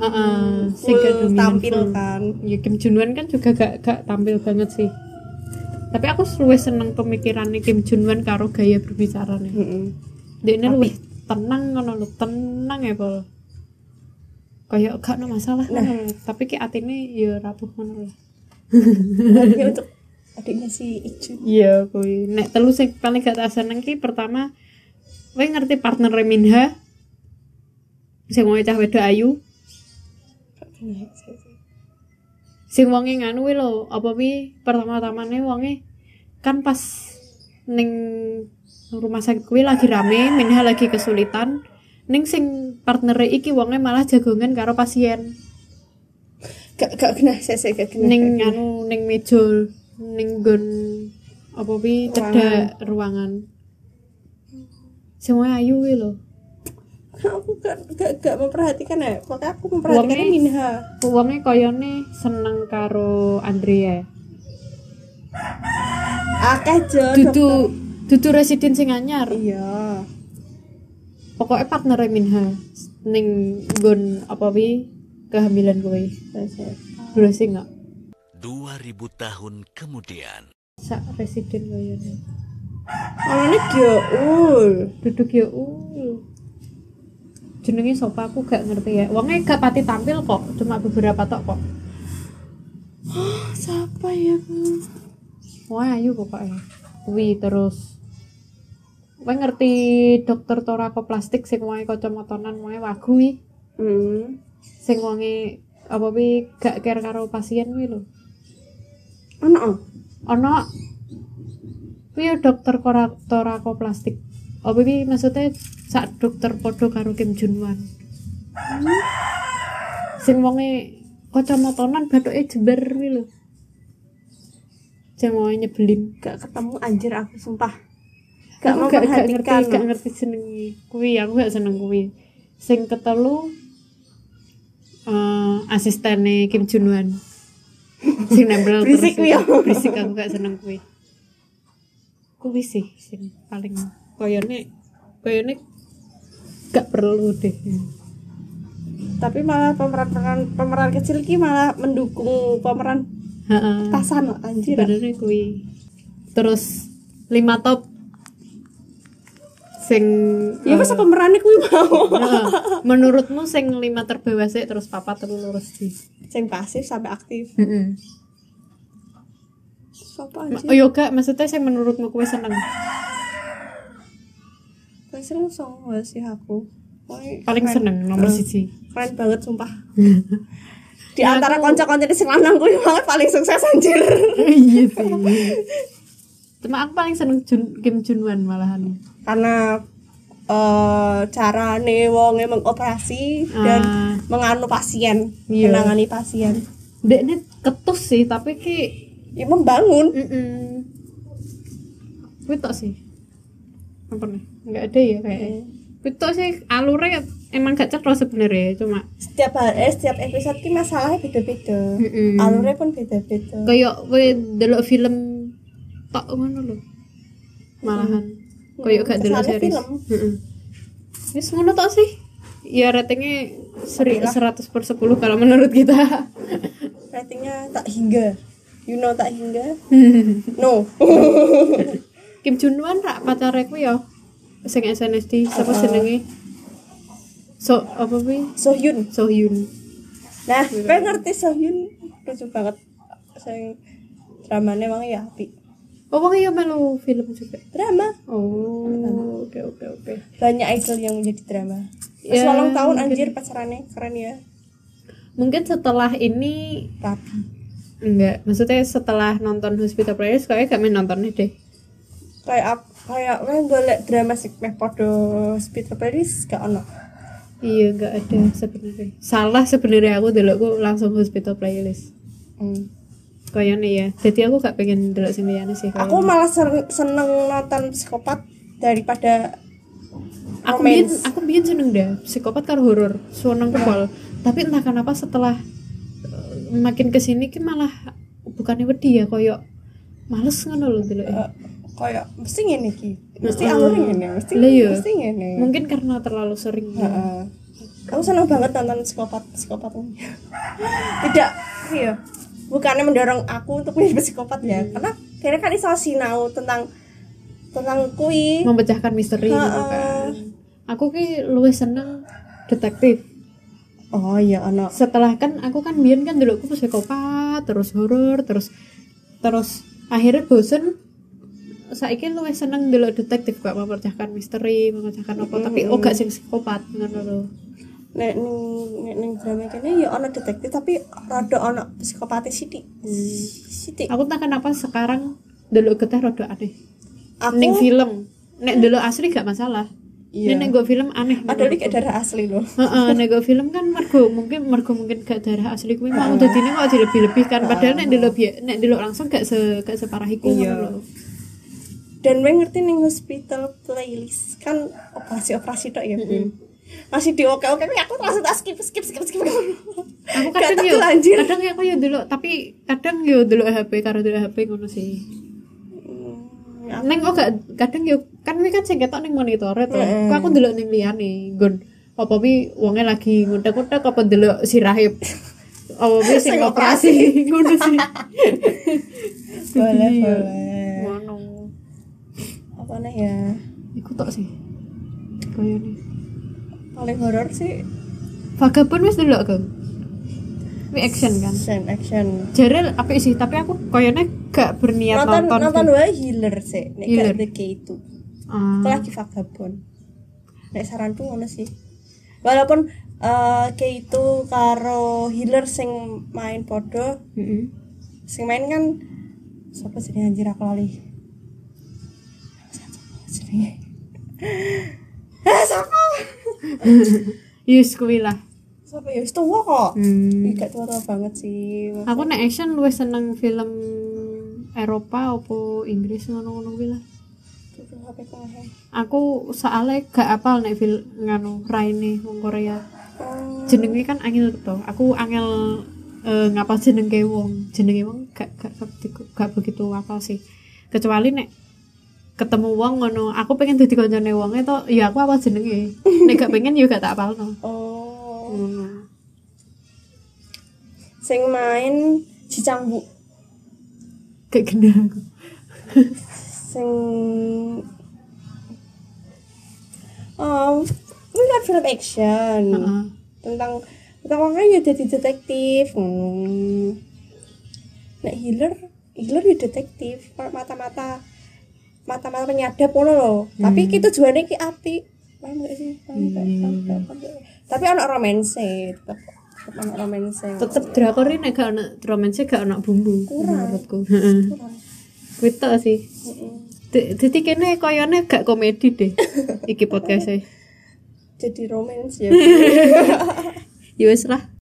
Speaker 1: Heeh, sing
Speaker 2: full
Speaker 1: gak dominan
Speaker 2: tampil
Speaker 1: full.
Speaker 2: kan.
Speaker 1: Ya Kim Junwan kan juga gak gak tampil banget sih. Tapi aku luwih seneng pemikirannya Kim Junwan karo gaya berbicaranya.
Speaker 2: Heeh.
Speaker 1: Dia luwih tenang ngono lho, tenang ya Pol. Kayak gak ada masalah ngono
Speaker 2: Nah.
Speaker 1: lho. tapi ki atine ya rapuh ngono lho.
Speaker 2: untuk adiknya si Iju.
Speaker 1: Iya kuwi. Nek telu sing paling gak tak seneng ki pertama kowe ngerti partner Minha sing wong cah wedok ayu, sing wonge nganu kuwi lho, apa kuwi pertama-tamane wonge kan pas ning rumah sakit kuwi lagi rame, Minha lagi kesulitan. Ning sing partnere iki wonge malah jagongan karo pasien.
Speaker 2: Gak gak kena sese gak kena.
Speaker 1: Ning anu ning meja ning nggon apa pi cedak ruangan. Semuanya ayu wi lho.
Speaker 2: aku gak, gak, gak memperhatikan ya makanya aku memperhatikan
Speaker 1: Wonge-
Speaker 2: Minha
Speaker 1: Wonge koyone seneng karo Andrea. ya?
Speaker 2: akeh jo dokter.
Speaker 1: Dudu dudu residen sing anyar.
Speaker 2: iya
Speaker 1: Pokoknya partner e Minha ning nggon apa wi kehamilan kowe.
Speaker 2: terus ya.
Speaker 1: Browsing enggak?
Speaker 3: 2000 tahun kemudian.
Speaker 1: Sak residen koyone.
Speaker 2: Ono nih Gyoul.
Speaker 1: duduk ya uh jenenge sopa aku gak ngerti ya wongnya gak pati tampil kok cuma beberapa tok kok
Speaker 2: Siapa ya? Bu?
Speaker 1: wah ayu pokoknya kuwi terus Wae ngerti dokter torakoplastik sing wonge kacamatanan wonge wagu wi.
Speaker 2: Hmm.
Speaker 1: sing wonge apa wi gak care karo pasien wi lho.
Speaker 2: Ono. oh?
Speaker 1: Ono kuwi ya dokter kora- torakoplastik. Apa wi maksudnya sak dokter podo karo Kim Junwan. Sing wonge kacamatanan bathuke jember wi lho. Sing wonge nyebelin.
Speaker 2: Gak ketemu anjir aku sumpah.
Speaker 1: gak
Speaker 2: Gak
Speaker 1: aku
Speaker 2: mau
Speaker 1: gak, gak ngerti
Speaker 2: perhatikan.
Speaker 1: gak ngerti jenenge kuwi aku gak seneng kuwi sing ketelu eh asistene Kim Junwan sing nempel
Speaker 2: Berisik kuwi ya.
Speaker 1: berisik aku gak seneng kuwi kuwi sih sing paling koyone koyone gak perlu deh
Speaker 2: Tapi malah pemeran-pemeran pemeran kecil ki malah mendukung pemeran
Speaker 1: heeh
Speaker 2: tasan loh, anjir.
Speaker 1: sebenarnya kuwi terus lima top sing
Speaker 2: Ya masa pemerannya kuwi mau.
Speaker 1: Heeh. menurutmu sing lima terbawah sih terus papat terus lurus sih
Speaker 2: Sing pasif sampai aktif. Sopo
Speaker 1: oh
Speaker 2: anjir?
Speaker 1: yoga maksudnya sing menurutmu kue seneng
Speaker 2: Paling seneng song gak sih aku. Woy,
Speaker 1: paling Iya
Speaker 2: keren.
Speaker 1: seneng nomor
Speaker 2: Eh,
Speaker 1: siji
Speaker 2: Keren banget sumpah. Di antara konco-konco sing lanang kuwi malah paling sukses anjir.
Speaker 1: iya sih cuma aku paling seneng Jun, Kim Junwan malahan
Speaker 2: karena eh cara wonge mengoperasi dan
Speaker 1: Ah.
Speaker 2: menganu pasien,
Speaker 1: Iya.
Speaker 2: menangani pasien.
Speaker 1: dek ini ketus sih tapi ki
Speaker 2: Ya membangun.
Speaker 1: mm kuwi tok sih apa nih nggak ada ya kayaknya kuwi tok sih alurnya emang gak cerdas sebenarnya cuma
Speaker 2: Setiap hal- eh, setiap episode ki masalahnya beda-beda.
Speaker 1: Mm-mm.
Speaker 2: Alurnya pun beda-beda.
Speaker 1: kayak kowe delok film tok ngono lho malahan kayak gak delok
Speaker 2: Kesannya
Speaker 1: series
Speaker 2: film.
Speaker 1: heeh wis ngono tok sih ya ratingnya seri 100 per 10 kalau menurut kita
Speaker 2: Ratingnya tak hingga. You know tak hingga? No.
Speaker 1: Kim Junwan rak pacare ku ya sing SNSD sapa jenenge so apa kuwi
Speaker 2: Sohyun.
Speaker 1: Sohyun
Speaker 2: Nah,
Speaker 1: Iya.
Speaker 2: gue ngerti Sohyun lucu banget. Saya dramanya emang ya api.
Speaker 1: oh wong ya melu film juga
Speaker 2: Drama.
Speaker 1: oh oke oke oke
Speaker 2: Banyak idol yang menjadi drama. Pas
Speaker 1: Ya,
Speaker 2: walang tahun anjir pacarannya keren ya.
Speaker 1: mungkin setelah ini
Speaker 2: rapi
Speaker 1: Enggak, maksudnya setelah nonton Hospital Playlist kayaknya gak main nontonnya deh.
Speaker 2: kayak ap- kayak gue golek drama sih meh podo speed Paris gak ono
Speaker 1: Iya, enggak ada sebenarnya. Salah sebenarnya aku delok aku langsung Hospital Playlist. Hmm. Kayaknya ya. Jadi aku gak pengen delok sing liyane sih.
Speaker 2: aku
Speaker 1: kayaknya.
Speaker 2: malah sen- seneng nonton psikopat daripada
Speaker 1: aku biyen
Speaker 2: romance.
Speaker 1: aku biyen seneng deh psikopat karo horor, seneng kepol. Tapi entah kenapa setelah eh, makin kesini ki malah bukannya wedi ya koyok males ngono lho deloknya.
Speaker 2: eh, kayak mesti ngene ki mesti alurnya ngene mesti
Speaker 1: Lah iya.
Speaker 2: mesti ngene
Speaker 1: Mungkin karena terlalu sering.
Speaker 2: Heeh. aku seneng banget nonton psikopat psikopat ini tidak iya bukannya mendorong aku untuk menjadi psikopat ya
Speaker 1: Hmm.
Speaker 2: karena kira kan iso sinau tentang tentang kui
Speaker 1: memecahkan misteri gitu
Speaker 2: Ha-ha.
Speaker 1: kan. Aku ki luwih seneng detektif.
Speaker 2: oh iya ono
Speaker 1: Setelah kan aku kan biyen kan dulu aku psikopat, terus horor, terus terus akhirnya bosen saiki luwih seneng dulu detektif kok memecahkan misteri, memecahkan apa tapi oh gak sing psikopat ngono lho.
Speaker 2: nek ning nek ning drama kene ya ana detektif tapi rada ana psikopati sithik.
Speaker 1: Hmm.
Speaker 2: Sithik.
Speaker 1: Aku tak kenapa sekarang dulu geteh rada aneh. Ning
Speaker 2: Aku
Speaker 1: film, nek dulu asli gak masalah.
Speaker 2: Iya.
Speaker 1: Nek gue film aneh.
Speaker 2: ada
Speaker 1: menurutku.
Speaker 2: iki darah asli loh.
Speaker 1: Heeh, nek go film kan mergo mungkin mergo mungkin gak darah asli kuwi mau
Speaker 2: Iya.
Speaker 1: dadine kok dilebih-lebih kan padahal nek delok bi- nek delok langsung gak se gak separah iku ngono lho.
Speaker 2: dan gue ngerti nih hospital playlist kan operasi operasi tok ya Bu. masih di oke oke aku langsung tak skip skip skip skip
Speaker 1: aku
Speaker 2: aku
Speaker 1: kadang yo
Speaker 2: lanjut
Speaker 1: kadang ya aku yo dulu tapi kadang yo dulu HP karo dulu HP ngono sih neng oh gak kadang yo kan ini kan sing ketok ning monitor to
Speaker 2: Mm-mm.
Speaker 1: kok aku dulu ning liyane nggon apa pi wonge lagi ngutek-ngutek apa dulu sirahe apa pi sing
Speaker 2: Sing
Speaker 1: operasi ngono sih
Speaker 2: boleh
Speaker 1: Iya.
Speaker 2: boleh
Speaker 1: ngono
Speaker 2: apa nih ya
Speaker 1: iku tok sih kaya nih
Speaker 2: paling horor sih
Speaker 1: vagabond wis dulu kan ini action kan
Speaker 2: action action
Speaker 1: Jarel apik sih tapi aku koyone gak berniat
Speaker 2: nonton
Speaker 1: nonton,
Speaker 2: nonton wae healer sih nek
Speaker 1: Healer.
Speaker 2: gak teke itu
Speaker 1: Ah.
Speaker 2: aku lagi vagabond nek saranku ngono sih walaupun eh kayak itu karo healer sing main podo
Speaker 1: Ah, Mm-mm.
Speaker 2: sing main kan siapa sih ini? anjir aku lali Siapa jenenge? ah siapa
Speaker 1: Yus kuwi lah
Speaker 2: siapa ya itu tua kok
Speaker 1: Hmm.
Speaker 2: Ih, gak tua tua banget sih
Speaker 1: aku nek action luwih seneng film Eropa opo Inggris ngono-ngono kuwi lah
Speaker 2: Tuh, tuh, HP ku ngehe.
Speaker 1: aku soalnya gak apal nek film nganu raine wong Korea
Speaker 2: Oh,
Speaker 1: jenenge kan angel to aku angel eh, ngapal jenenge wong jenenge wong gak gak, gak gak begitu apal sih kecuali nek ketemu wong ngono aku pengen dadi koncone wong itu ya aku apa jenenge nek gak pengen ya gak tak apalno
Speaker 2: oh
Speaker 1: ngono
Speaker 2: sing main cicangbu
Speaker 1: gak gena aku
Speaker 2: sing um ini kan film action
Speaker 1: Heeh.
Speaker 2: tentang tentang orang ya jadi detektif hmm. nah healer healer ya detektif mata mata mata mata penyadap ngono loh tapi kita tujuannya ki api paham gak sih paham gak? Paham gak? Paham gak? tapi anak romance tetap tetap anak romance
Speaker 1: tetep drakor ini nek gak ana romance gak ana bumbu
Speaker 2: Kurang.
Speaker 1: menurutku heeh
Speaker 2: kurang
Speaker 1: kuwi tok sih
Speaker 2: Mm-mm.
Speaker 1: D- Dadi kene koyone gak komedi deh iki podcast e
Speaker 2: jadi romance ya
Speaker 1: ya wis lah